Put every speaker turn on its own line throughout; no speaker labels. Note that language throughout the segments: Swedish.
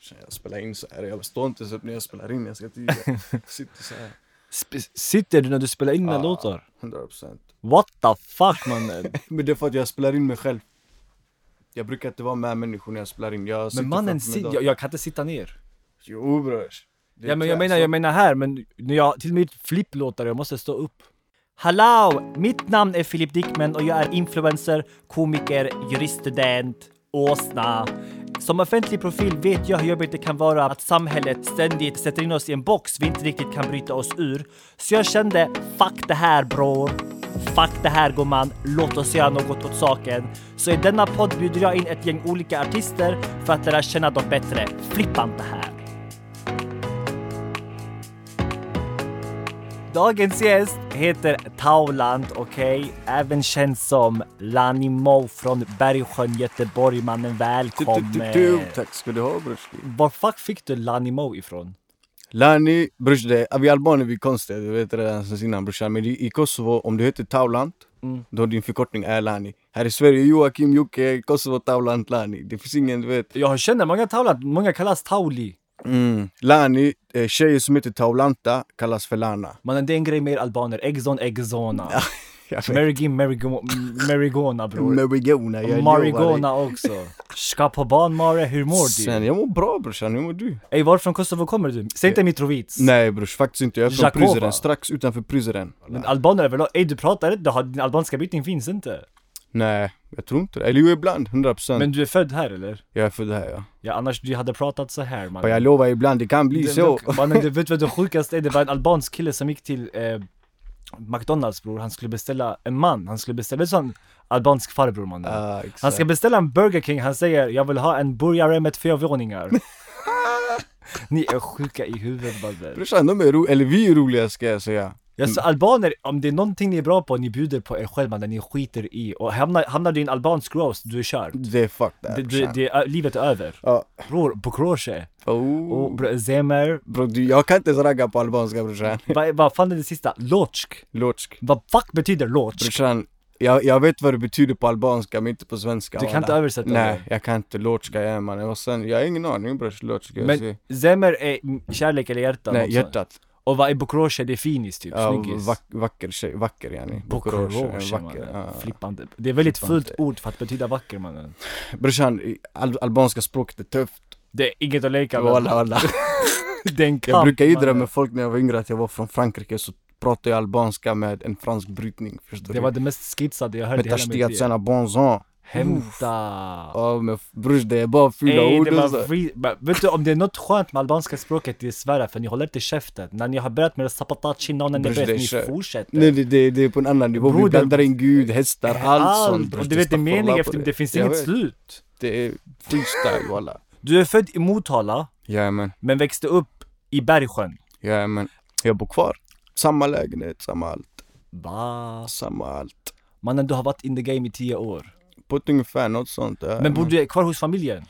Tjena, Jag spelar in så här. Jag står inte så upp när jag spelar in. Jag ska inte ljuga. Jag Sitter så här.
Sp- sitter du när du spelar in dina
Ja.
låtar?
100 procent.
What the fuck mannen?
Men det är för att jag spelar in mig själv. Jag brukar inte vara med människor när jag spelar in. Jag sitter
Men mannen,
framför min
sit,
dator.
jag, jag kan inte sitta ner.
Jo brors. Det är
Ja, men jag,
tvärtom.
menar, jag menar här, men när jag, till och med flipplåtar, jag måste stå upp. Hallå! Mitt namn är Filip Dickman och jag är influencer, komiker, juriststudent, åsna. Som offentlig profil vet jag hur jobbigt det kan vara att samhället ständigt sätter in oss i en box vi inte riktigt kan bryta oss ur. Så jag kände, fuck det här bror. Fuck det här gumman, låt oss göra något åt saken. Så i denna podd bjuder jag in ett gäng olika artister för att lära känna dem bättre. Flippa inte här! Dagens gäst heter Tauland, okej? Även känd som Lanimo från Bergsjön, Göteborg. Mannen
Du,
välkommen!
du, du, du.
typ-
Tack ska du ha brors.
Var fuck fick du Lanimo ifrån?
Lani, brors det, vi albaner vi är konstiga, du vet redan sen innan brorsan. Men i i Kosovo, om du heter Taulant,
Mm.
då din förkortning är Lani. Här i Sverige, Joakim, Jocke, Kosovo, Taulant, Lani. Det finns ingen, du vet.
Jag känner många Tauland, många kallas Tauli.
Mm. Lani, eh, tjejer som heter Taulanta kallas för Lana.
Mannen det är en grej med er albaner, Exxon Exona.
Jag vet.
Merigim Merigo- Merigona bror.
Marigona, jag lovar dig.
Marigona också. Skapoban Mare, hur mår du?
Sen, jag mår bra brorsan, hur mår du?
Ey varför från Kosovo kommer du? Säg inte Mitrovic.
Nej brors, faktiskt inte. Jag är från
Jakova.
Pryzren, strax utanför Pryzren.
Men albaner överlag, ey du pratar inte, du har- din albanska brytning finns
Mm.
inte.
Nej, jag tror inte det. Eller jo, ibland. 100%.
Men
procent.
du är född här eller?
Jag är född här ja.
Ja annars du hade pratat så här man.
Och jag lovar, ibland det kan bli så.
Mannen du vet vad det sjukaste är? Det var en albansk kille som gick till eh, McDonalds bror, han skulle beställa, en man, han skulle beställa, vet du sån albansk farbror mannen.
Ah,
Han
exakt.
ska beställa en Burger King, han säger jag vill ha en burgare med två våningar. Ni är sjuka i huvudet mannen.
Brorsan, de är roliga, eller vi är roliga ska jag säga.
Jag sa albaner, om det är någonting ni är bra på, ni bjuder på er själva när ni skiter i. Och hamnar, hamnar du i en albansk roast, du är körd.
Det är fuck
Det,
där
det,
brorsan.
det, är- äh, livet är över.
Ja.
Bror, Bokroche.
Oh.
Och bro, Zemer.
Bro, du, jag kan inte ens ragga på albanska brorsan.
Vad vad fan är det sista? Lotsk.
Lotsk.
Vad fuck betyder lotsk?
Brorsan, jag, jag vet vad det betyder på albanska men inte på svenska.
Du kan
walla.
inte översätta
Nej,
det.
jag kan inte. Lotska är man. Och sen, jag har ingen aning brors. Lotska. jag
Men
ser-
Zemer är kärlek eller hjärta? något
Nej,
sånt.
hjärtat.
Och vad är Bokroche? Det är finis typ,
Ja,
snyggis.
vack, vacker tjej. Vacker yani.
Bokroche,
Vacker.
mannen.
ja.
Flippande. Det är väldigt
Flippande.
fult ord för att betyda vacker mannen.
Brorsan, i- al- albanska språket är tufft.
Det är inget att leka med.
Walla, walla.
Det är en kamp,
Jag brukar jiddra
mannen.
med folk när jag var yngre att jag var från Frankrike så pratade jag albanska med en fransk brytning. Förstår
Det
du?
var det mest skitsade jag hörde i
Med
hela mitt
Tashtiat
liv.
Sana Bonzon.
Hämta.
Ja men brors det är bara fylla
Ey,
ord alltså.
det
och
var
så.
free... Men Vet du om det är något skönt med albanska språket, det är Sverige för ni håller inte käften. När ni har börjat med sapatachi, nanen är
Bror, det är
ni
kö-
fortsätter.
Nej det, det, det är på en annan nivå, vi
Broder-
blandar in gud, hästar, allt, sånt brors.
Och du vet det är
staffar alla
mening
på
efter det, finns
Jag
inget
vet.
slut.
Det är freestyle walla
Du är född i Motala,
Jajamän,
men växte upp i Bergsjön.
jajamän Jag bor kvar, samma lägenhet, samma allt,
Va?
samma allt
Mannen du har varit in the game i tio år.
På ett ungefär, något sånt ja.
Men bor du kvar hos familjen?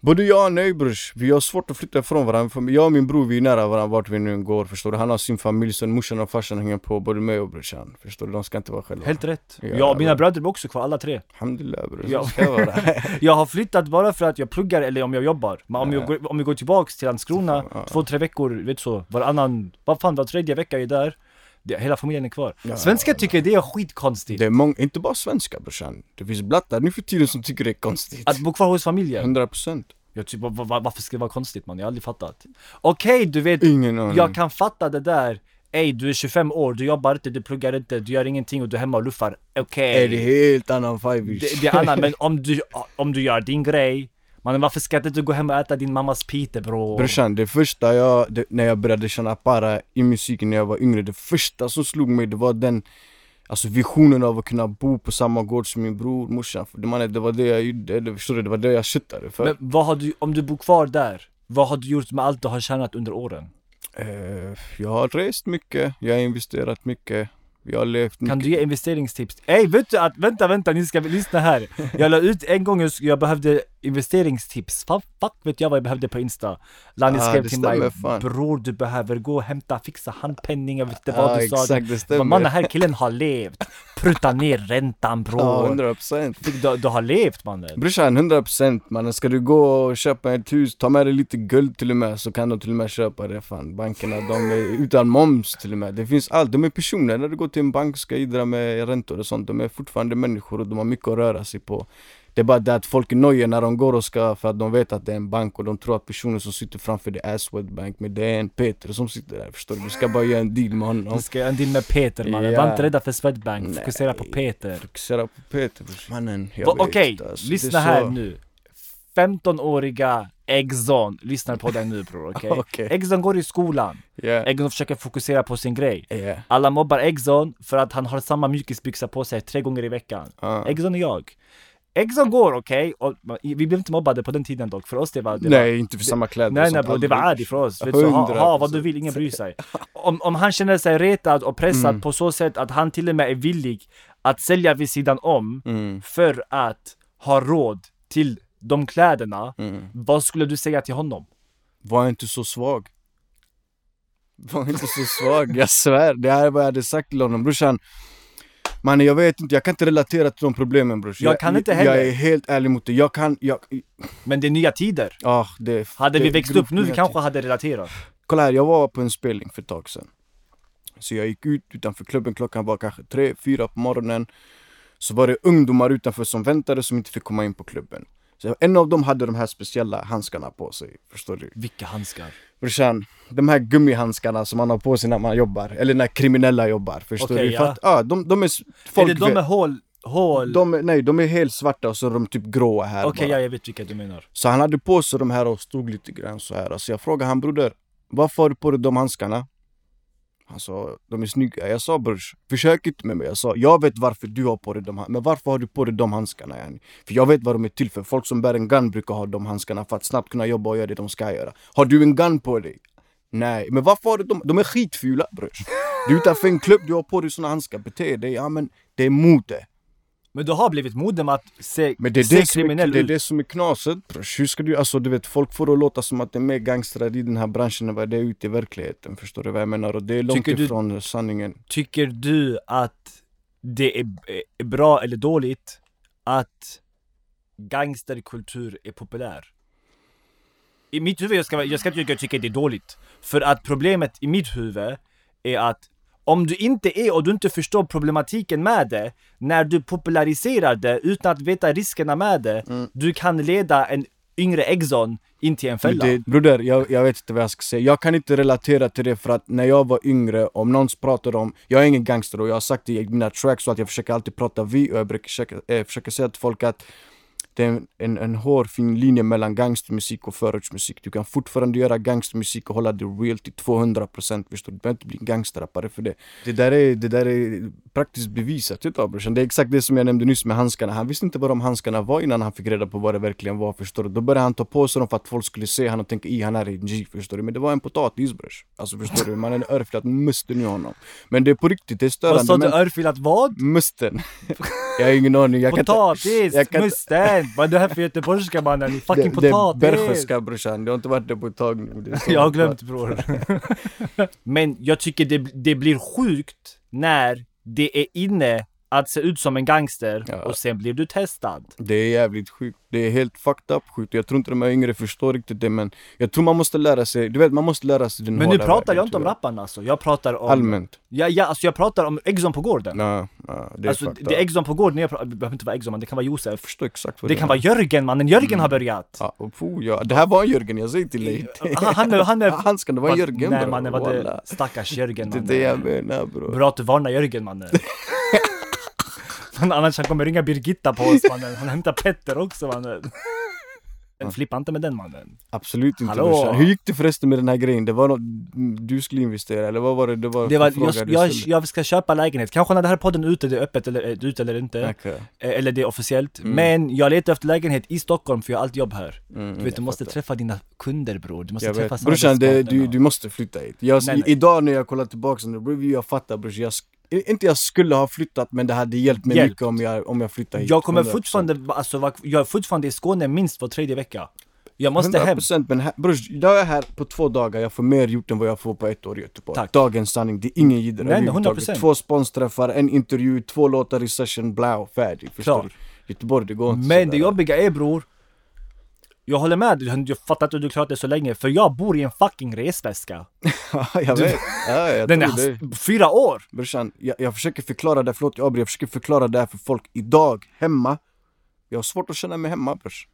Både jag och nej brors, vi har svårt att flytta ifrån varandra För Jag och min bror vi är nära varandra vart vi nu än går förstår du Han har sin familj, sen morsan och farsan hänger på, både mig och brorsan Förstår du, de ska inte vara själva
Helt rätt.
Ja,
Ja, mina
bra.
bröder bor också kvar, alla tre.
Alhamdulillah brors,
Ja.
ja. ska vara
Jag har flyttat bara för att jag pluggar eller om jag jobbar. Men om, jag, går- om jag går tillbaks till Landskrona
Ja.
två, tre veckor, vet så, varannan, vad fan, var tredje vecka är jag där. Det, hela familjen är kvar.
Ja.
Svenskar tycker det är skitkonstigt.
Det är många, inte bara svenska brorsan. Det finns blattar nu för tiden som tycker det är konstigt.
Att bo kvar hos familjen.
100 procent.
Jag typ, va- va- varför ska det vara konstigt man? Jag har aldrig fattat. Okej, du vet,
Ingen aning.
jag kan fatta det där. Ey, du är 25 år, du jobbar inte, du pluggar inte, du gör ingenting och du är hemma och luffar. Okej.
Är det helt annan five
Det, det är annat, men om du, om du gör din grej, mannen varför ska inte du gå hem och äta din mammas pite bror?
Brorsan, det första jag, det, när jag började känna para i musiken när jag var yngre, det första som slog mig det var den Alltså visionen av att kunna bo på samma gård som min bror, morsan. För det, mannen, det var det jag gjorde, eller förstår du? Det var det jag köttade för.
Men vad har du, om du bor kvar där, vad har du gjort med allt du har tjänat under åren?
Eh, jag har rest mycket, jag har investerat mycket, jag har levt mycket.
Kan du ge investeringstips? Ey, vet du att, vänta, vänta, ni ska lyssna här. Jag la ut en gång, jag, sk- jag behövde investeringstips. Fan, fuck vet jag vad jag behövde på Insta. Lanny
Ah,
skrev
det
till mig,
stämmer fan.
bror du behöver gå och hämta, fixa handpenning, jag vet inte vad
Ah,
du sa.
exakt, det
Men
stämmer.
Man, den här killen har levt. Prutta ner räntan
Ja,
bror.
100 procent.
Fick du, du har levt mannen.
Brorsan, 100 procent mannen. Ska du gå och köpa ett hus, ta med dig lite guld till och med så kan de till och med köpa det fan. Bankerna, de är utan moms till och med. Det finns allt. De är personer. När du går till en bank och ska idra med räntor och sånt, de är fortfarande människor och de har mycket att röra sig på. Det är bara det att folk är nöjer när de går och ska, för att de vet att det är en bank och de tror att personen som sitter framför det är Swedbank, men det är en Peter som sitter där förstår du. Du ska bara göra en deal med honom.
Du ska göra en deal med Peter mannen.
Ja.
Var inte rädda för Swedbank, fokusera på Peter.
Fokusera på Peter brorsan. Mannen, jag
Va-
vet
Okej,
inte, alltså. Det är
lyssna här
så.
nu. 15-åriga Exxon lyssnar på dig nu bror, okej?
Okej.
Exxon går i skolan.
Yeah.
Exxon försöker fokusera på sin grej.
Yeah.
Alla mobbar Exxon för att han har samma mjukisbyxa på sig tre gånger i veckan.
Ah.
Exxon är jag. Exxon går, okej? och Vi blev inte mobbade på den tiden dock, för oss det var... Det var
Nej, inte för samma kläder och
Nej nej
sånt,
bror, det var
aldrig.
adi för oss. Vet du, så, ha, ha vad du
100%.
vill, ingen bryr sig. Om, om han känner sig retad och pressad
Mm.
på så sätt att han till och med är villig att sälja vid sidan om
Mm.
för att ha råd till de kläderna,
Mm.
vad skulle du säga till honom?
Var inte så svag. Var inte så svag, jag svär. Det här är vad jag hade sagt till honom. Brorsan, mannen jag vet inte, jag kan inte relatera till de problemen brorsan.
Jag kan inte heller.
Jag är helt ärlig mot dig. Jag kan, jag,
Men det är nya tider.
ah, det,
Hade
det,
vi växt upp nu vi
grovt-
kanske hade relaterat.
Kolla här, jag var på en spelning för ett tag sedan. Så jag gick ut utanför klubben, klockan var kanske tre, fyra på morgonen. Så var det ungdomar utanför som väntade som inte fick komma in på klubben. Så en av dem hade de här speciella handskarna på sig, förstår du?
Vilka handskar.
Brorsan, de här gummihandskarna som man har på sig när man jobbar, eller när kriminella jobbar, förstår
Okej,
du?
ja.
För att, ja, de, de är... s-
är det de
vet-
med hål? hål?
de är- nej, de är helt svarta och så är de typ gråa här
Okej,
bara.
ja, jag vet vilka du menar.
Så han hade på sig de här och stod lite grann så här. Så jag frågade han broder, varför har du på dig de handskarna? Han sa, de är snygga. Jag sa brors, försök inte med mig. Jag sa, jag vet varför du har på dig de handskarna. Men varför har du på dig de handskarna yani? För jag vet vad de är till för. Folk som bär en gun brukar ha de handskarna för att snabbt kunna jobba och göra det de ska göra. Har du en gun på dig? Nej, men varför har du de? De är skitfula brors. Du är utanför en klubb, du har på dig såna handskar. Bete dig, ja men det är mode.
Men du har blivit modem att se,
Men det är
se
det, som är,
kriminell
det är
ut.
det som är knaset brors. Hur ska du, alltså du vet folk får det att låta som att det är mer gangstrar i den här branschen än vad det är ute i verkligheten. Förstår du vad jag menar? Och det är långt
Tycker du-
ifrån sanningen.
Tycker du att det är b- är bra eller dåligt att gangsterkultur är populär? I mitt huvud, jag ska, jag ska inte ljuga, jag tycker det är dåligt. För att problemet i mitt huvud är att om du inte är och du inte förstår problematiken med det, när du populariserar det utan att veta riskerna med det, du kan leda en yngre Exxon in till en
Mm. Men
fälla.
Det, broder, jag, jag vet inte vad jag ska säga. Jag kan inte relatera till det för att när jag var yngre, om någon pratade om... Jag är ingen gangster och jag har sagt det i mina tracks så att jag försöker alltid prata vi och jag brukar försöka, eh, försöka säga till folk att det är en, en, en hårfin linje mellan gangstermusik och förortsmusik. Du kan fortfarande göra gangstermusik och hålla det real till 200% förstår du? Du behöver inte bli en gangsterrappare för det. Det där är, det där är praktiskt bevisat utav brorsan. Det är exakt det som jag nämnde nyss med handskarna. Han visste inte vad de handskarna var innan han fick reda på vad det verkligen var förstår du. Då började han ta på sig dem för att folk skulle se han och tänka i han är en G förstår du. Men det var en potatis brors. Alltså förstår du, man är en örfil att musten i honom. Men det är på riktigt, det är störande.
Vad sa du,
men-
örfilat vad?
Musten. jag har ingen aning. Jag kan inte-
Potatis,
jag kan inte-
musten! Vad är det här för göteborgska mannen? Ni Fucking
det,
potatis!
Det är bergska brorsan, det har inte varit det på ett tag nu. Det är så-
jag har glömt bror. Men jag tycker det, det blir sjukt när det är inne att se ut som en gangster
Ja.
och sen blir du testad.
Det är jävligt sjukt. Det är helt fucked up sjukt. Jag tror inte de här yngre förstår riktigt det men jag tror man måste lära sig, du vet man måste lära sig den
Men nu
hårda
pratar
vägen,
jag inte om
tyvärr.
rapparna alltså, jag pratar om...
Allmänt.
Ja, ja, alltså jag pratar om Exxon på gården.
Nej, nej, det är
alltså
fucked
det är
up.
Exxon på gården, jag pratar, det behöver inte vara Exxon men det kan vara Josef.
Jag förstår Mm. exakt vad
Det kan vara Jörgen mannen, Jörgen har börjat!
Ja, och po, ja. Det här var Jörgen, jag säger till dig.
Han, han, är- han är...
Han ska, det var Jörgen
Nej
bror,
mannen, vad det...
walla.
Stackars Jörgen
Det är
mannen.
det jag menar bror.
Bra att du varnar Jörgen mannen. Men annars han kommer ringa Birgitta på oss mannen. Han hämtar Petter också mannen. Men Flippa inte med den mannen.
Absolut inte
Hallå?
brorsan. Hur gick det förresten med den här grejen? Det var något du skulle investera eller vad var det? Det var,
Det var,
fråga
jag,
du
jag,
ställde?
jag ska köpa lägenhet. Kanske när den här podden är ute, det är öppet eller, är ute eller inte.
Okej. Mm.
Eh, Eller det är officiellt. Men jag letar efter lägenhet i Stockholm för jag har allt jobb här. du vet, du måste träffa dina kunder bror. Du måste
mm, Jag
träffa
vet. Brorsan, det,
samarbetspartnerna.
du, du måste flytta hit. Jag,
Nej, nej.
Idag när jag kollar tillbaka på review, jag fattar brorsan. Jag, sk- inte jag skulle ha flyttat men det hade hjälpt mig
Hjälpt.
mycket om jag, om jag flyttade hit.
Jag kommer
100%.
fortfarande, alltså, vara- jag är fortfarande i Skåne minst var tredje vecka. Jag måste hem.
100% men här, brors, jag är här på två dagar, jag får mer gjort än vad jag får på ett år i Göteborg.
Tack.
Dagens sanning, det är ingen jidder
Nej, nej,
överhuvudtaget.
100%.
Två sponsträffar, en intervju, två låtar i session, bla, färdig. Förstår
Klar.
du? Göteborg, det går inte
Men det
sådär.
jobbiga är bror, jag håller med dig, jag fattar inte hur du klarat det så länge, för jag bor i en fucking resväska.
jag vet. Ja, jag
Den är
tror det.
hass- fyra år!
Brorsan, jag, jag försöker förklara det, förlåt jag avbryter, jag försöker förklara det här för folk idag, hemma. Jag har svårt att känna mig hemma brors.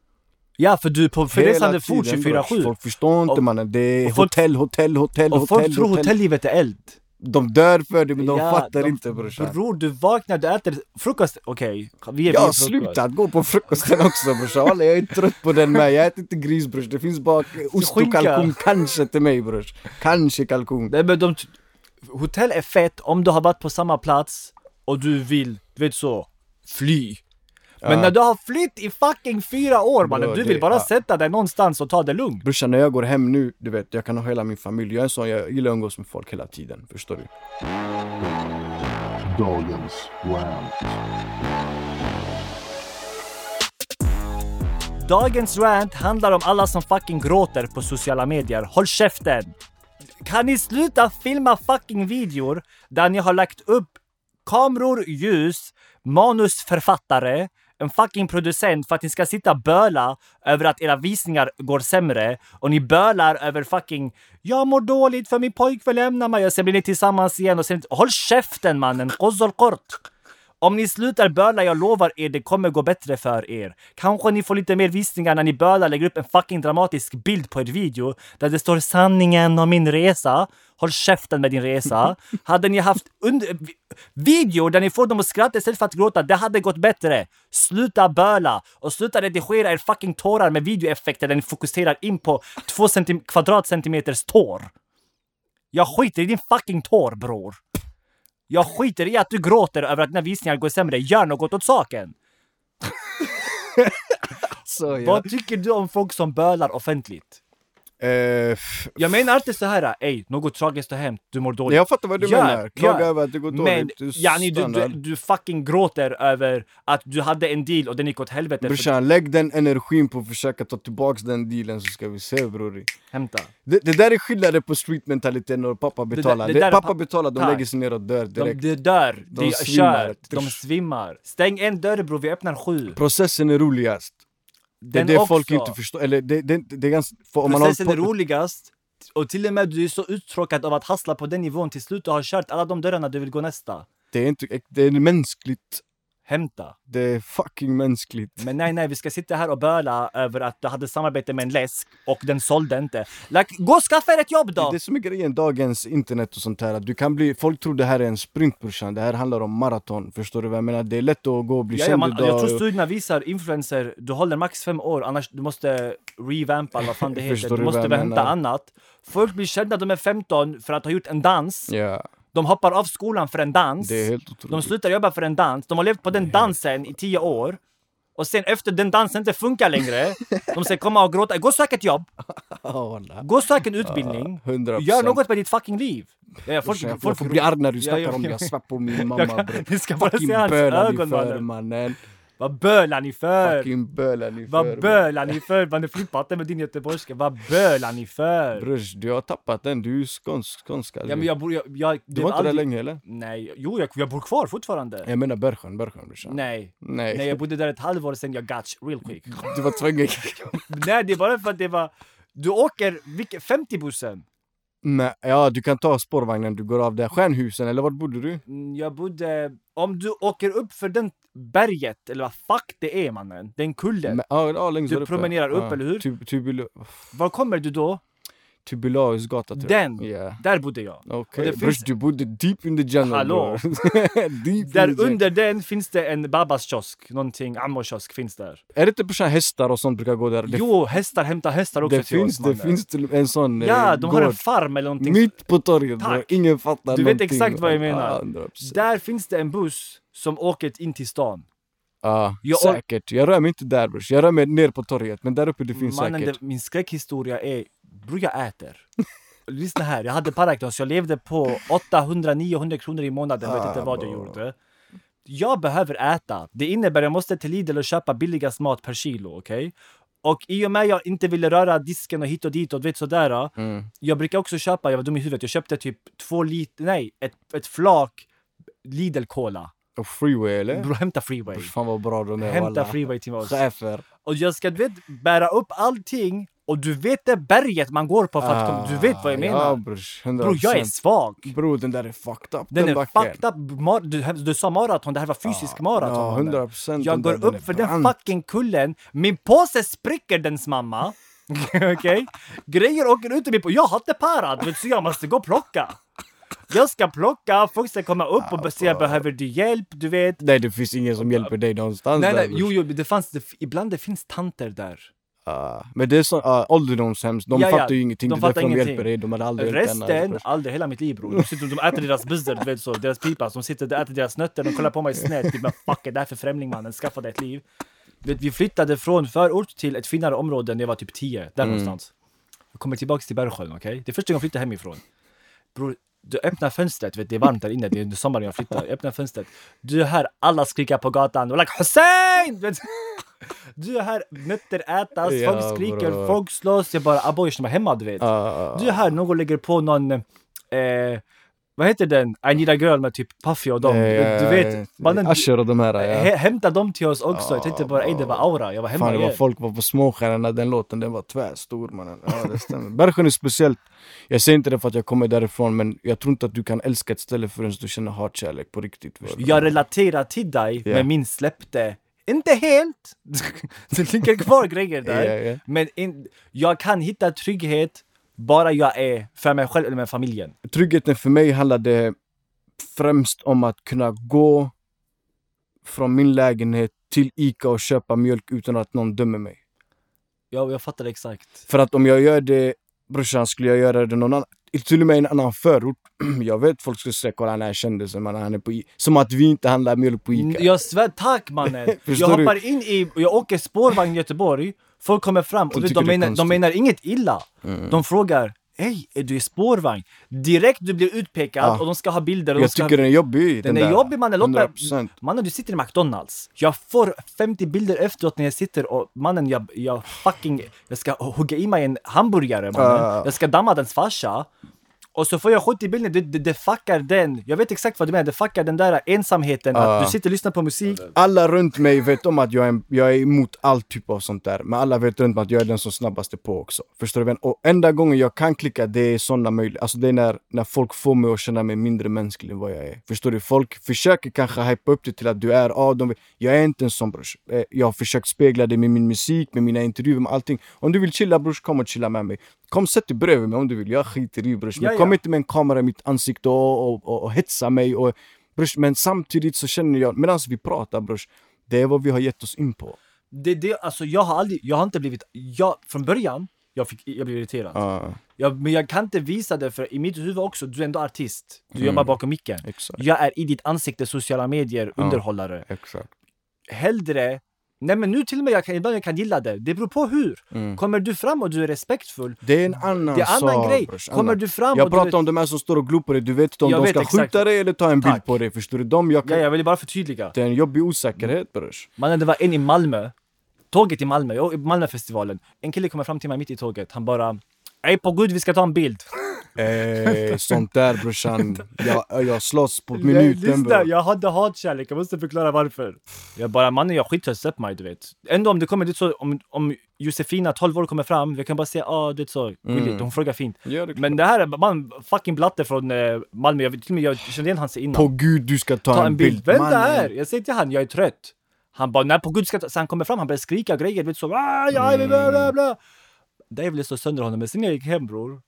Ja, för du är på
Hela
förresande fot
tiden,
24-7.
brors. Folk förstår inte
Och-
mannen, det är
och folk-
hotell, hotell, hotell,
Och
hotell,
folk tror hotelllivet är eld.
De dör för det men de
Ja,
fattar
de-
inte brorsan.
Bror, du vaknar, du äter frukost. Okej, vi är
Jag
vi
har
är frukost.
slutat gå på frukosten också brorsan, Walla, jag är trött på den med. Jag äter inte gris brors, det finns bara ost och
Skinka.
kalkon kanske till mig brors. Kanske kalkon.
Nej men de... Hotell är fett om du har varit på samma plats och du vill, du vet så, fly. Men när du har flytt i fucking fyra år mannen,
Bro,
du
det-
vill bara
ja.
sätta dig någonstans och ta det lugnt.
Brorsan när jag går hem nu, du vet jag kan ha hela min familj. Jag är en sån, jag gillar att umgås med folk hela tiden. Förstår du?
Dagens rant.
Dagens rant handlar om alla som fucking gråter på sociala medier. Håll käften! Kan ni sluta filma fucking videor där ni har lagt upp kameror, ljus, manusförfattare, en fucking producent för att ni ska sitta och böla över att era visningar går sämre och ni bölar över fucking “jag mår dåligt för min pojkvän lämnar mig” och sen blir ni tillsammans igen och sen... Håll käften mannen! Qozol qort! Om ni slutar böla, jag lovar er, det kommer gå bättre för er. Kanske ni får lite mer visningar när ni bölar lägger upp en fucking dramatisk bild på er video där det står sanningen om min resa. Håll käften med din resa. Hade ni haft under- vi- videor där ni får dem att skratta istället för att gråta, det hade gått bättre. Sluta böla och sluta redigera er fucking tårar med videoeffekter där ni fokuserar in på två centim- kvadratcentimeters tår. Jag skiter i din fucking tår, bror. Jag skiter i att du gråter över att dina visningar går sämre. Gör något åt saken!
Så,
Vad tycker du om folk som bölar offentligt?
Eh, f-
Jag menar inte så här, ej, något tragiskt har hänt, du mår dåligt.
jag fattar vad du
Gör,
menar. Klaga
gör.
över att det går
Men
dåligt. Du
yani, du, du,
stannar.
du fucking gråter över att du hade en deal och den gick åt helvete. För...
Brorsan, lägg den energin på att försöka ta tillbaks den dealen så ska vi se bror.
Hämta.
Det, det där är skillnaden på streetmentaliteten och pappa
där-
betalar.
det
Det
där är pa-
pappa betalar, de
Tack.
lägger sig ner och dör
De,
direkt.
de dör, de,
De svimmar.
kör, de svimmar. Stäng en dörr bror, vi öppnar sju.
Processen är roligast. Det är
Den
det folk
också.
inte förstår. Eller det, det, det, är ganska... för om man har
Processen är
hållit på-
roligast. Och till och med du är så uttråkad av att hassla på den nivån till slut du har kört alla de dörrarna du vill gå nästa.
Det är, inte, det är mänskligt.
Hämta.
Det är fucking mänskligt.
Men nej, nej, vi ska sitta här och böla över att du hade samarbete med en läsk och den sålde inte. Like, gå och skaffa er ett jobb då!
Det är som är grejen, dagens internet och sånt här. att Du kan bli, folk tror det här är en sprint brorsan. Det här handlar om maraton. Förstår du vad jag menar? Det är lätt att gå och bli
Ja, ja,
känd
man,
idag.
jag tror studierna visar influencer, du håller max fem år annars du måste revampa eller vad fan det
Förstår
heter.
du
Du
vad
måste
jag
väl hämta
menar?
annat. Folk blir kända, de är 15 för att ha gjort en dans.
Ja,
De hoppar av skolan för en dans.
det är helt
De
otroligt.
slutar jobba för en dans. De har levt på den dansen i 10 år. Och sen efter den dansen inte funkar längre, de ska komma och gråta. Gå och sök ett jobb!
Ja, walla.
Gå och sök en utbildning.
Ja, 100%.
Gör något med ditt fucking liv. Ja, ja, folk,
Brorsan, jag,
folk-
jag får bli arg när du
Ja,
snackar
ja,
om det.
ja.
Jag svär på min mamma
Jag kan-
bror.
Ni ska bara
Fucking
se hans
bölar
ögon,
ni för
mannen.
mannen.
Vad bölar ni för?
Fucking bölar ni för.
Vad bölar ni för? Man flippar inte med din göteborgska. Vad bölar ni för?
Brors, du har tappat den. Du är ju skånsk, skånska.
Ja, men jag bor... Jag, jag, det
du
var
var inte
aldrig-
där länge eller?
Nej, jo, jag, jag bor kvar fortfarande.
Jag menar Bergsjön, Bergsjön brorsan.
Nej.
Nej.
Nej, jag bodde där ett halvår sen jag got real quick.
Du var tvungen.
Nej, det är bara för att det var... Du åker vilken- 50-bussen.
Nej, ja, du kan ta spårvagnen, du går av där. Stjärnhusen, eller vart bodde du?
Mm, Jag bodde... Om du åker upp för den berget, eller vad fuck det är mannen, den kullen.
Men- Ja, ja, längst
Du
där uppe.
promenerar upp,
Ja.
eller hur?
Tub- tubula-
Var kommer du då?
Tubulausgatan tror jag.
Den!
Ja.
Där bodde jag.
Okej,
Och det
brors
finns-
du bodde deep in the jungle
Hallå.
bror. deep in
Där
the jungle.
under den finns det en babas kiosk, någonting, ammo kiosk finns där.
Är det inte brorsan hästar och sånt brukar gå där? Det,
Jo, hästar hämtar hästar också
det
till
finns,
oss
det
mannen.
finns till en sån
Ja,
eh,
de har en
gård.
farm eller någonting.
Mitt på torget
Tack.
bror, ingen fattar
Du vet
någonting,
exakt vad jag
bror.
menar.
Ja, 100%.
Där finns det en buss som åker in till stan.
Ja,
Jag-
säkert. Jag rör mig inte där brors. Jag rör mig ner på torget, men där uppe det finns
Mannen,
säkert.
det, min skräckhistoria är, bror jag äter. lyssna här, jag hade Paraknos, jag levde på 800-900 kronor i månaden, jag vet inte
Ah,
vad jag
bra.
gjorde. Jag behöver äta. Det innebär jag måste till Lidl och köpa billigast mat per kilo, okej? Och i och med jag inte ville röra disken och hit och dit och du vet sådär. ah,
Mm.
Jag brukar också köpa, jag var dum i huvudet, jag köpte typ två liter, nej, ett, ett flak Lidl Cola.
Och freeway eller?
Bro, hämta Freeway.
Eh? Fan vad bra de är
Hämta
walla.
Freeway till oss.
Chefer.
Och jag ska du vet, bära upp allting och du vet det berget man går på för att komma- Du vet vad jag menar?
Ah, Ja brors, 100%.
Bro, jag är svag!
Bro den där är fucked up
Den är
backen. Ah,
fucked up. Mar- Du, du sa maraton, det här var fysisk maraton.
Ja,
mannen.
100%
Jag
den
går
där, den
upp
är
för den
brant.
fucking kullen. Min påse spricker dens mamma. Okej? Grejer åker ut ur min på. Jag har inte parat, du vet, så jag måste gå och plocka. Jag ska plocka, folk ska komma upp och
Ah,
be- säga behöver du hjälp, du vet.
Nej det finns ingen som hjälper dig någonstans
Nej,
där,
nej,
brors.
jo, jo, det fanns, det, ibland det finns tanter där.
Ah, Men det är så, uh, ålderdomshems, de
Ja, ja,
fattar ju ingenting, det är
de
därför
fattar
de
ingenting.
hjälper dig, de hade aldrig hjälpt en annan
Resten,
brors.
aldrig hela mitt liv bror. De, sitter, de äter deras buzzer, du vet så, deras pipas. De sitter och äter deras nötter, de kollar på mig snett. Typ, men fuck är det här för främling mannen? Skaffa dig ett liv. Du vet, vi flyttade från förort till ett finare område när jag var typ 10, där
Mm.
någonstans. Jag kommer tillbaks till Bergsjön, okej? Det är första gången jag flyttar hemifrån. Bror, du öppnar fönstret, vet, det är varmt där inne, det är under sommaren jag flyttar. Jag öppnar fönstret. Du hör alla skrika på gatan, och like Hussein! Du vet, Du hör nötter ätas,
Ja,
folk skriker,
bror.
folk slåss. Jag bara aboj, som var hemma du vet.
Ah,
Du här, någon lägger på någon... Eh, vad heter den? I need a girl med typ Puffy och dem.
eh,
du
eh,
vet, mannen,
Asher och de här ja.
hä- hämta dem till oss också. Jag tänkte bara, ej det var aura. Jag var hemma
Fan det var
igen.
folk var på småstjärnorna, den låten den var tvärstor mannen. Ja det stämmer. Bergsjön är speciellt. Jag säger inte det för att jag kommer därifrån men jag tror inte att du kan älska ett ställe förrän du känner hatkärlek på riktigt. bror.
Jag relaterar till dig,
Ja.
men min släppte. Inte helt! det ligger kvar grejer där.
Ja, ja.
Men in, jag kan hitta trygghet bara jag är för mig själv eller med familjen.
Tryggheten för mig handlade främst om att kunna gå från min lägenhet till Ica och köpa mjölk utan att någon dömer mig.
Jag, jag fattar exakt.
För att om jag gör det, brorsan, skulle jag göra det någon annan, till och med i en annan förort. jag vet folk skulle säga kolla den här kändisen, man, han är på I-" Som att vi inte handlar mjölk på Ica.
Jag svär, tack mannen! jag
Förstår
hoppar in i, och jag åker spårvagn i Göteborg, folk kommer fram och
De
de,
tycker
de,
det är
menar, de
konstigt. Mm.
menar inget illa. De frågar Hej, är du i spårvagn? Direkt du blir utpekad
Ja.
och de ska ha bilder. Och de
Jag
ska
tycker den är jobbig.
den, är
där.
jobbig mannen, låt mig...
100%.
Mannen du sitter i McDonalds. Jag får 50 bilder efteråt när jag sitter och mannen jag, jag fucking... Jag ska hugga i mig en hamburgare mannen.
Ja.
Jag ska damma dens farsa. Och så får jag 70 bilder, det, det, det fuckar den. Jag vet exakt vad du menar, det fuckar den där ensamheten. Att du sitter och lyssnar på musik.
Alla runt mig vet om att jag är, en- jag är emot all typ av sånt där. Men alla vet runt mig att jag är den som snabbaste på också. Förstår du? vad jag menar? Och enda gången jag kan klicka, det är såna möjligheter. Alltså det är när, när folk får mig att känna mig mindre mänsklig än vad jag är. Förstår du? Folk försöker kanske hypa upp det till att du är av dem. Jag är inte en sån brors. Eh, Jag har försökt spegla det med min musik, med mina intervjuer, med allting. Om du vill chilla brors, kom och chilla med mig. Kom sätt dig bredvid mig om du vill. Jag skiter i brors. Men
Ja, ja.
kom inte med en kamera i mitt ansikte och, och, och, och hetsa mig. Och, brors, men samtidigt så känner jag, medan vi pratar brors, det är vad vi har gett oss in på.
Det, det, alltså jag har aldrig, jag har inte blivit... Jag, från början, jag, fick, jag blev irriterad.
Ja,
Jag, men jag kan inte visa det för i mitt huvud också, du är ändå artist.
Mm.
Du jobbar bakom micken.
exakt.
Jag är i ditt ansikte, sociala medier, underhållare.
Exakt.
Hellre... Nej men nu till och med, jag kan, ibland jag kan gilla det. Det beror på hur.
Mm.
Kommer du fram och du är respektfull,
Det är en annan
det är annan
sak
grej.
brors,
Kommer
annan.
du fram
Jag
och du
pratar
vet-
om de här som står och glor på dig, du vet inte om
Jag
de
vet
ska
exakt.
skjuta dig eller ta en bild
Tack.
på dig, förstår du? De, jag kan...
Ja, jag ville bara förtydliga.
Det är en jobbig osäkerhet brors.
Mannen, det var en i Malmö. Tåget i Malmö, jag- i Malmöfestivalen. En kille kommer fram till mig mitt i tåget. Han bara Ey på gud, vi ska ta en bild.
Eh, sånt där brorsan, jag, jag slåss på minuten
Lyssna,
bror.
jag hade hatkärlek, jag måste förklara varför. Jag bara, mannen jag skiter släpp mig du vet. Ändå om det kommer dit så, om, om Josefina 12 år kommer fram, jag kan bara säga ah du vet så, gulligt,
Mm.
hon frågar fint.
Ja, det är klart.
Men det här är man, fucking blatte från eh, Malmö, jag, vet- till och med, jag kände igen hans innan.
På gud du ska ta,
ta en bild. Vem det
mannen.
är? Jag säger till han, jag är trött. Han bara, nej på gud ska jag ta-" Så han kommer fram, han börjar skrika grejer, vet så. "Ah, Ja, bla, bla, bla, bla. Där ville slå sönder honom, men sen när jag gick hem bror.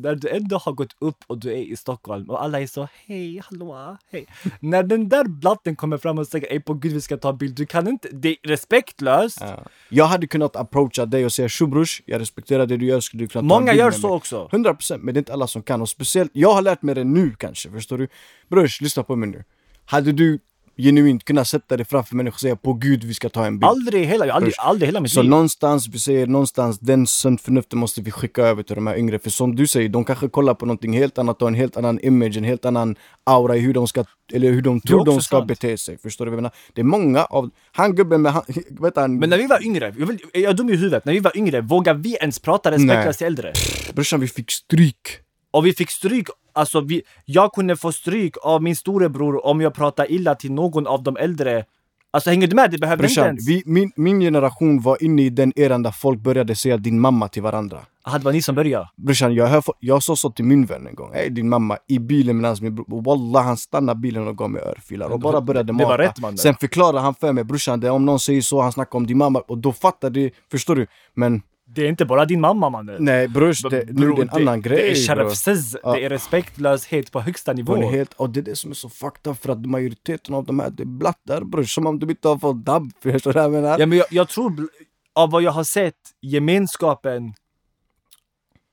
När du ändå har gått upp och du är i Stockholm och alla är så hej, hallå, hej. när den där blatten kommer fram och säger ey på gud vi ska ta en bild, du kan inte, det är respektlöst.
Ja. Jag hade kunnat approacha dig och säga tjo brors, jag respekterar det du gör, skulle du kunna ta en
Många
bild
gör
med
så
mig?"
också.
100% men det är inte alla som kan och speciellt, jag har lärt mig det nu kanske, förstår du? Brors, lyssna på mig nu. Hade du genuint kunna sätta det framför människor och säga på gud vi ska ta en bild.
Aldrig i hela, jag har aldrig, aldrig i hela mitt
Så
liv.
någonstans, vi säger någonstans, den sundförnuftet måste vi skicka över till de här yngre. För som du säger, de kanske kollar på någonting helt annat och en helt annan image, en helt annan aura i hur de ska, eller hur de tror
också
de ska
sant.
bete sig. Förstår du vad jag menar? Det är många av, han gubben med, han, vet han,
Men när vi var yngre, jag, vill, är jag dum i huvudet? När vi var yngre, vågade vi ens prata respektlöst till äldre?
brorsan vi fick stryk.
Och vi fick stryk, alltså vi, jag kunde få stryk av min storebror om jag pratade illa till någon av de äldre. Alltså hänger du med? Det behövde inte
Brorsan,
ens.
vi, min, min generation var inne i den eran där folk började säga din mamma till varandra.
Aha, det var ni som började.
Brorsan, jag, hör, jag sa så till min vän en gång. Hej din mamma, i bilen medan min bror... Och Wallah, han stannade bilen och gav mig örfilar och bara började
det
mata.
var rätt, mannen.
Sen förklarade han för mig, brorsan, det är om någon säger så, han snackar om din mamma. Och då fattade jag, förstår du? Men
Det är inte bara din mamma mannen.
nej brors, det, nu är det en annan
det,
grej.
Det är
bror.
sharafsiz, det är respektlöshet på högsta nivå.
På en helt, och det är det som är så fucked up för att majoriteten av de här, det är blattar bror. Som om de inte har fått dabb, förstår du vad jag menar?
Ja, men jag, jag tror, bl- av vad jag har sett, gemenskapen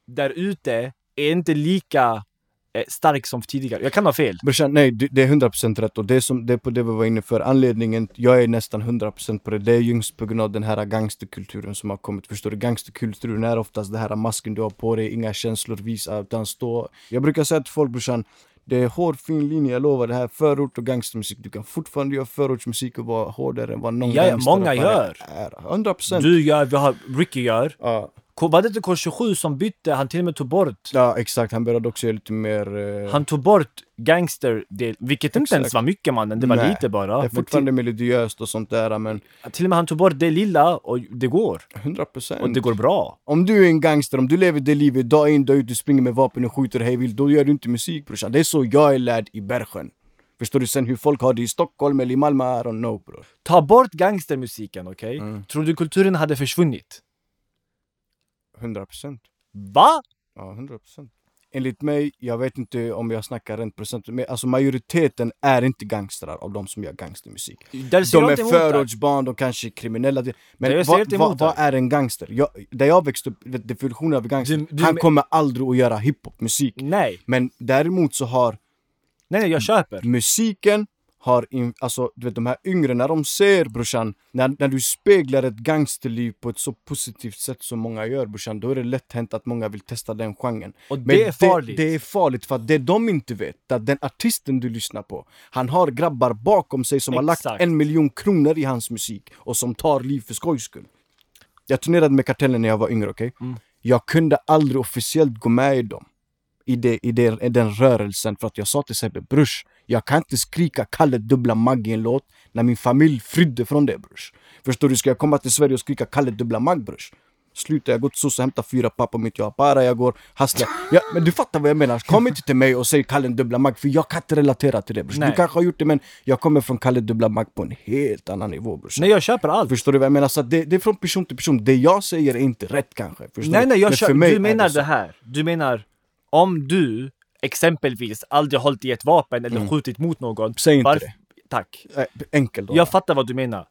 där ute är inte lika eh, stark som tidigare. Jag kan ha fel.
Brorsan, nej det det är 100% rätt och det är, som, det är på det vi var inne för. Anledningen, jag är nästan 100% på det. Det är just på grund av den här gangsterkulturen som har kommit. Förstår du? Gangsterkulturen är oftast det här masken du har på dig, inga känslor visa utan stå. Jag brukar säga till folk brorsan, det är hård fin linje, jag lovar. Det här är förort och gangstermusik. Du kan fortfarande göra förortsmusik och vara hårdare än vad någon
Ja, ja,
gangsterrappare
många gör.
Är. 100%.
Du gör, vi har, Ricky gör.
Ja,
K- Var det inte K27 som bytte? Han till och med tog bort.
ja, exakt. Han började också göra lite mer... eh,
Han tog bort gangster del, vilket inte ens
Exakt.
var mycket mannen. Det var
Nej,
lite bara.
det är
Men
fortfarande melodiöst och sånt där, men
till, till och med han tog bort det lilla och det går.
100%.
Och det går bra.
Om du är en gangster, om du lever det livet dag in dag ut, du springer med vapen och skjuter hej vilt, då gör du inte musik brorsan. Det är så jag är lärd i Bergsjön. Förstår du? Sen hur folk har det i Stockholm eller i Malmö, I don't know bror.
Ta bort gangstermusiken, okej?
Mm.
Tror du kulturen hade försvunnit?
100 procent.
Va?
Ja, 100 procent. Enligt mig, jag vet inte om jag snackar rent procent, men alltså majoriteten är inte gangstrar av de som gör gangstermusik.
Där ser
De
jag
är
inte emot det.
förortsbarn, de kanske är kriminella. Det- Men
Det jag
vad,
säger inte
vad,
emot det.
vad är en gangster? Jag, där jag växte upp, definitionen av gangster,
Du- Mm. du
han
men-
kommer aldrig att göra hiphopmusik.
Nej,
Men däremot så har
nej, nej, jag köper.
musiken har, in, alltså du vet de här yngre, när de ser brorsan, när, när du speglar ett gangsterliv på ett så positivt sätt som många gör brorsan, då är det lätt hänt att många vill testa den genren.
Och det är farligt.
Det, är farligt för att det de inte vet, att den artisten du lyssnar på, han har grabbar bakom sig som har
Exakt.
lagt en miljon kronor i hans musik och som tar liv för skojs skull. Jag turnerade med Kartellen när jag var yngre, okej?
Mm.
Jag kunde aldrig officiellt gå med i dem i, det, i, det, i den rörelsen för att jag sa till Sebbe brors, jag kan inte skrika Kalle Dubbla Magg i en låt när min familj flydde från det brors. Förstår du, ska jag komma till Sverige och skrika Kalle Dubbla Magg brors? Sluta, jag går till sosse, hämtar fyra pappa mitt, jag har para, jag går, hustlar. Ja, men du fattar vad jag menar. Kom inte till mig och säg Kalle Dubbla Magg för jag kan inte relatera till det brors. Du
Nej.
kanske har gjort det men jag kommer från Kalle Dubbla Magg på en helt annan nivå brors.
Nej, jag köper allt.
Förstår du vad jag menar? Så att det, det är från person till person. Det jag säger är inte rätt kanske. Förstår
Nej,
du?
nej,
Mm.
jag
Men
kör,
för mig
du
är
menar det,
så.
här. Du menar om du exempelvis aldrig hållit i ett vapen eller skjutit mot någon.
Mm. Säg inte
varf-
det.
Tack.
Eh, Enkelt då.
Jag fattar vad du menar.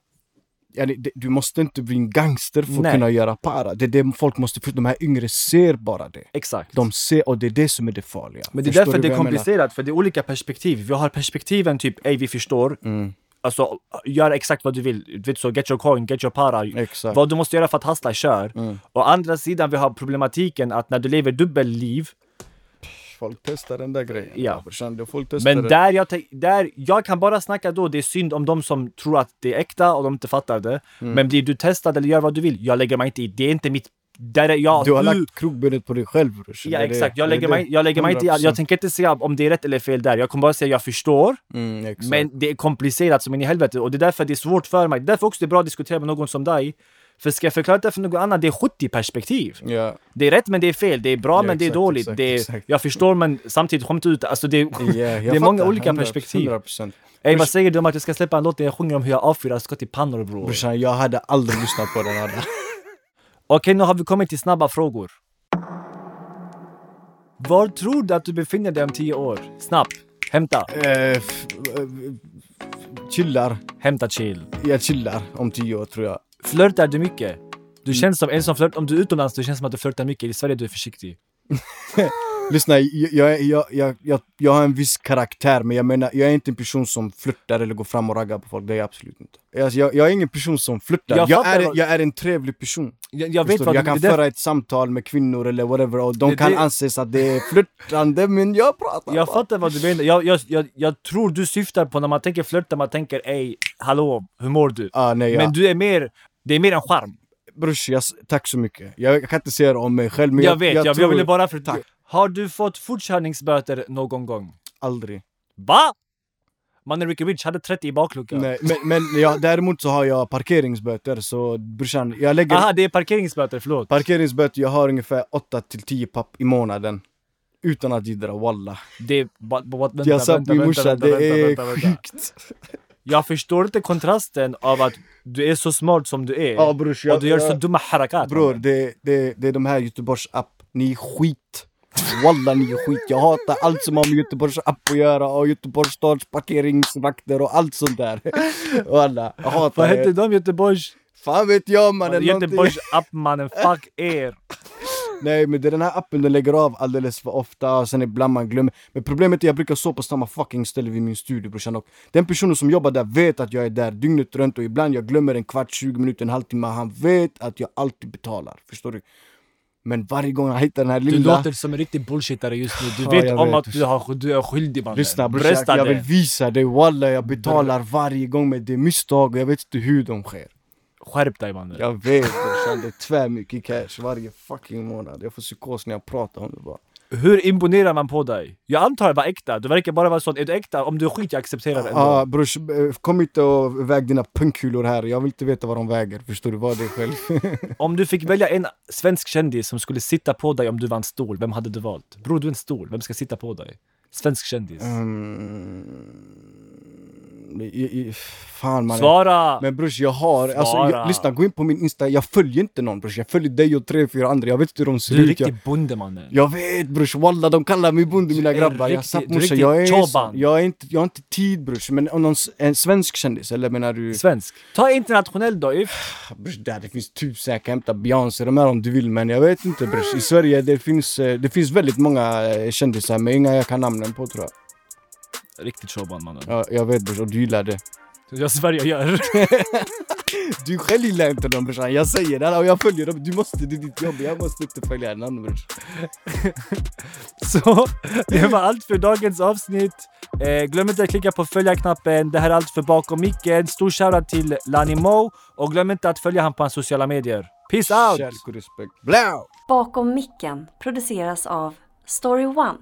yani, det- du måste inte bli en gangster för att
Nej.
kunna göra para. Det är det folk måste förstå. De här yngre ser bara det.
Exakt.
De ser, och det är det som är det farliga.
Men det är
Förstår
därför
du
det är
vad jag menar?
komplicerat, för det är olika perspektiv. Vi har perspektiven typ, ej vi förstår.
Mm.
Alltså, gör exakt vad du vill. Du vet så, get your coin, get your para.
Exakt. Mm.
Vad du måste göra för att hustla, kör. Å andra sidan, vi har problematiken att när du lever dubbelliv,
Folk testar den där grejen.
Ja.
Brorsan, det- folk testar
Men
det.
där jag, tänk- där jag kan bara snacka då, det är synd om de som tror att det är äkta och de inte fattar det.
Mm.
Men blir du testad eller gör vad du vill, jag lägger mig inte i. Det är inte mitt... Där är jag,
Du har
nu-
lagt krogbenet på dig själv brorsan.
Mm. Ja
Det är det.
exakt,
Det är
jag lägger,
det.
mig, jag lägger mig inte i. Jag
100%.
tänker inte säga om det är rätt eller fel där. Jag kommer bara säga jag förstår.
Mm, exakt.
Men det är komplicerat som in i helvete och det är därför det är svårt för mig. Det är därför också det är bra att diskutera med någon som dig. För ska jag förklara det för någon annan, det är 70 perspektiv.
Ja,
Det är rätt men det är fel, det är bra
Ja,
men det är
exakt,
dåligt.
exakt,
det är,
exakt.
Jag förstår men samtidigt skämt ut. Alltså det, är-
Ja, jag
det är många
fattar.
olika
100%,
perspektiv.
100%.
Ey
Förs-
vad säger du om att jag ska släppa en låt där jag sjunger om hur jag avfyrar skott i pannor bror? Okej,
Brorsan, jag hade aldrig lyssnat på den här.
nu har vi kommit till snabba frågor. Var tror du att du befinner dig om tio år? Snabbt! Hämta!
Eh, f- eh, Chillar.
Hämta chill.
Jag chillar om tio år tror jag.
Flörtar du
Mm.
mycket? Du känns som en som flörtar. Om du är utomlands, du känns som att du flörtar mycket. I Sverige du är försiktig.
Lyssna, jag, jag, jag, jag, jag, jag har en viss karaktär men jag menar, jag är inte en person som flörtar eller går fram och raggar på folk. Det är jag absolut inte. Alltså, jag, jag är ingen person som flörtar.
Jag
Jag,
fattar
är,
vad-
jag är en trevlig person.
Jag, jag vet
Förstår
vad
du? Jag kan
det är
föra ett samtal med kvinnor eller whatever och de
Det-
kan
det-
anses att det är flörtande men jag pratar
Jag
bara.
fattar vad du menar. Jag, jag, jag, jag tror du syftar på när man tänker flörta, man tänker ey, hallå, hur mår du?
Ah, nej,
Men
jag,
du är mer, det är mer en charm.
brors, jag, tack så mycket. Jag, jag kan inte säga det om mig själv men
Jag,
jag,
vet, jag, jag,
tror
ville bara för
Tack.
Har du fått fortkörningsböter någon gång?
aldrig.
Va? Mannen Ricky Rich hade 30 i bakluckan.
Nej, men men jag, däremot så har jag parkeringsböter så brorsan, jag lägger
Aha, det är parkeringsböter, förlåt.
parkeringsböter, jag har ungefär 8 till 10 papp i månaden. Utan att jiddra, wallah.
Det är... ba- ba- ba- Vänta,
jag sa
vänta,
till min
vänta,
morsa,
vänta,
det
vänta,
är
vänta, vänta.
sjukt.
Jag förstår inte kontrasten av att du är så smart som du är
Ja brors, jag,
och du gör så
jag-
dumma harakat.
Bror, det, det, det är de här Göteborgs app. Ni är skit. Walla ni är skit. Jag hatar allt som har med Göteborgs app att göra och Göteborgs stads parkeringsvakter och allt sånt där. Walla, jag
Vad
hatar
hette
er.
de Göteborgs...
Fan vet jag eh, mannen. någonting.
Göteborgs appmannen, fuck er!
Nej men det är den här appen den lägger av alldeles för ofta och sen ibland man glömmer. Men problemet är att jag brukar sova på samma fucking ställe vid min studio brorsan och den personen som jobbar där vet att jag är där dygnet runt och ibland jag glömmer en kvart, 20 minuter, en halvtimme. Han vet att jag alltid betalar. Förstår du? Men varje gång jag hittar den här
Du
lilla...
låter som en riktig bullshitare just nu. Du
Ja,
vet
jag
om
vet.
att du, har, du är skyldig mannen.
Lyssna brorsan,
Brösta
jag
det.
vill visa dig walla jag betalar varje gång men det är misstag och jag vet inte hur de sker.
Skärp dig mannen.
Jag vet brorsan, det är tvär mycket cash varje fucking månad. Jag får psykos när jag pratar om det bara.
Hur imponerar man på dig? Jag antar att vara äkta. Du verkar bara vara sån. Är du äkta? Om du är skit, jag accepterar det ändå.
Ja ah, brors, eh, kom inte och väg dina pungkulor här. Jag vill inte veta vad de väger. Förstår du? Var det själv.
Om du fick välja en svensk kändis som skulle sitta på dig om du vann stol, vem hade du valt? Bror, du är en stol. Vem ska sitta på dig? Svensk kändis.
Mm, i, i, fan man.
Svara!
Men brors jag har, alltså,
Svara.
jag, lyssna gå in på min Insta, jag följer inte någon brors. Jag följer dig och tre, fyra andra. Jag vet inte hur de ser
du är
ut. Jag,
riktig bonde mannen.
jag vet brors, walla de kallar mig bonde mina
är
grabbar. Jag
riktig-
satt
du är
morsan,
riktig
jag är, så-
Choban.
jag, är inte, jag har inte tid brors. Men om någon, s- en svensk kändis, eller menar du?
Svensk. Ta internationell då. If.
Brors, där det finns tusen, jag kan hämta Beyoncé, de här om du vill men jag vet inte brors. I Sverige det finns, eh, det finns väldigt många eh, kändisar men inga jag kan namnen på tror jag.
Riktigt Choban mannen.
Ja, jag vet brors och du gillar det.
Jag svär jag gör.
Du själv gillar inte dem brorsan, jag säger det och jag följer dem. Du måste, det är ditt jobb, jag måste inte följa namn brors.
Så det var allt för dagens avsnitt. Eh, glöm inte att klicka på följa-knappen. Det här är allt för bakom micken. Stor shoutout till Lani Mo och glöm inte att följa han på hans sociala medier. Peace out!
Kärlek och respekt. Blau!
Bakom micken produceras av Story One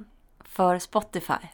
för Spotify.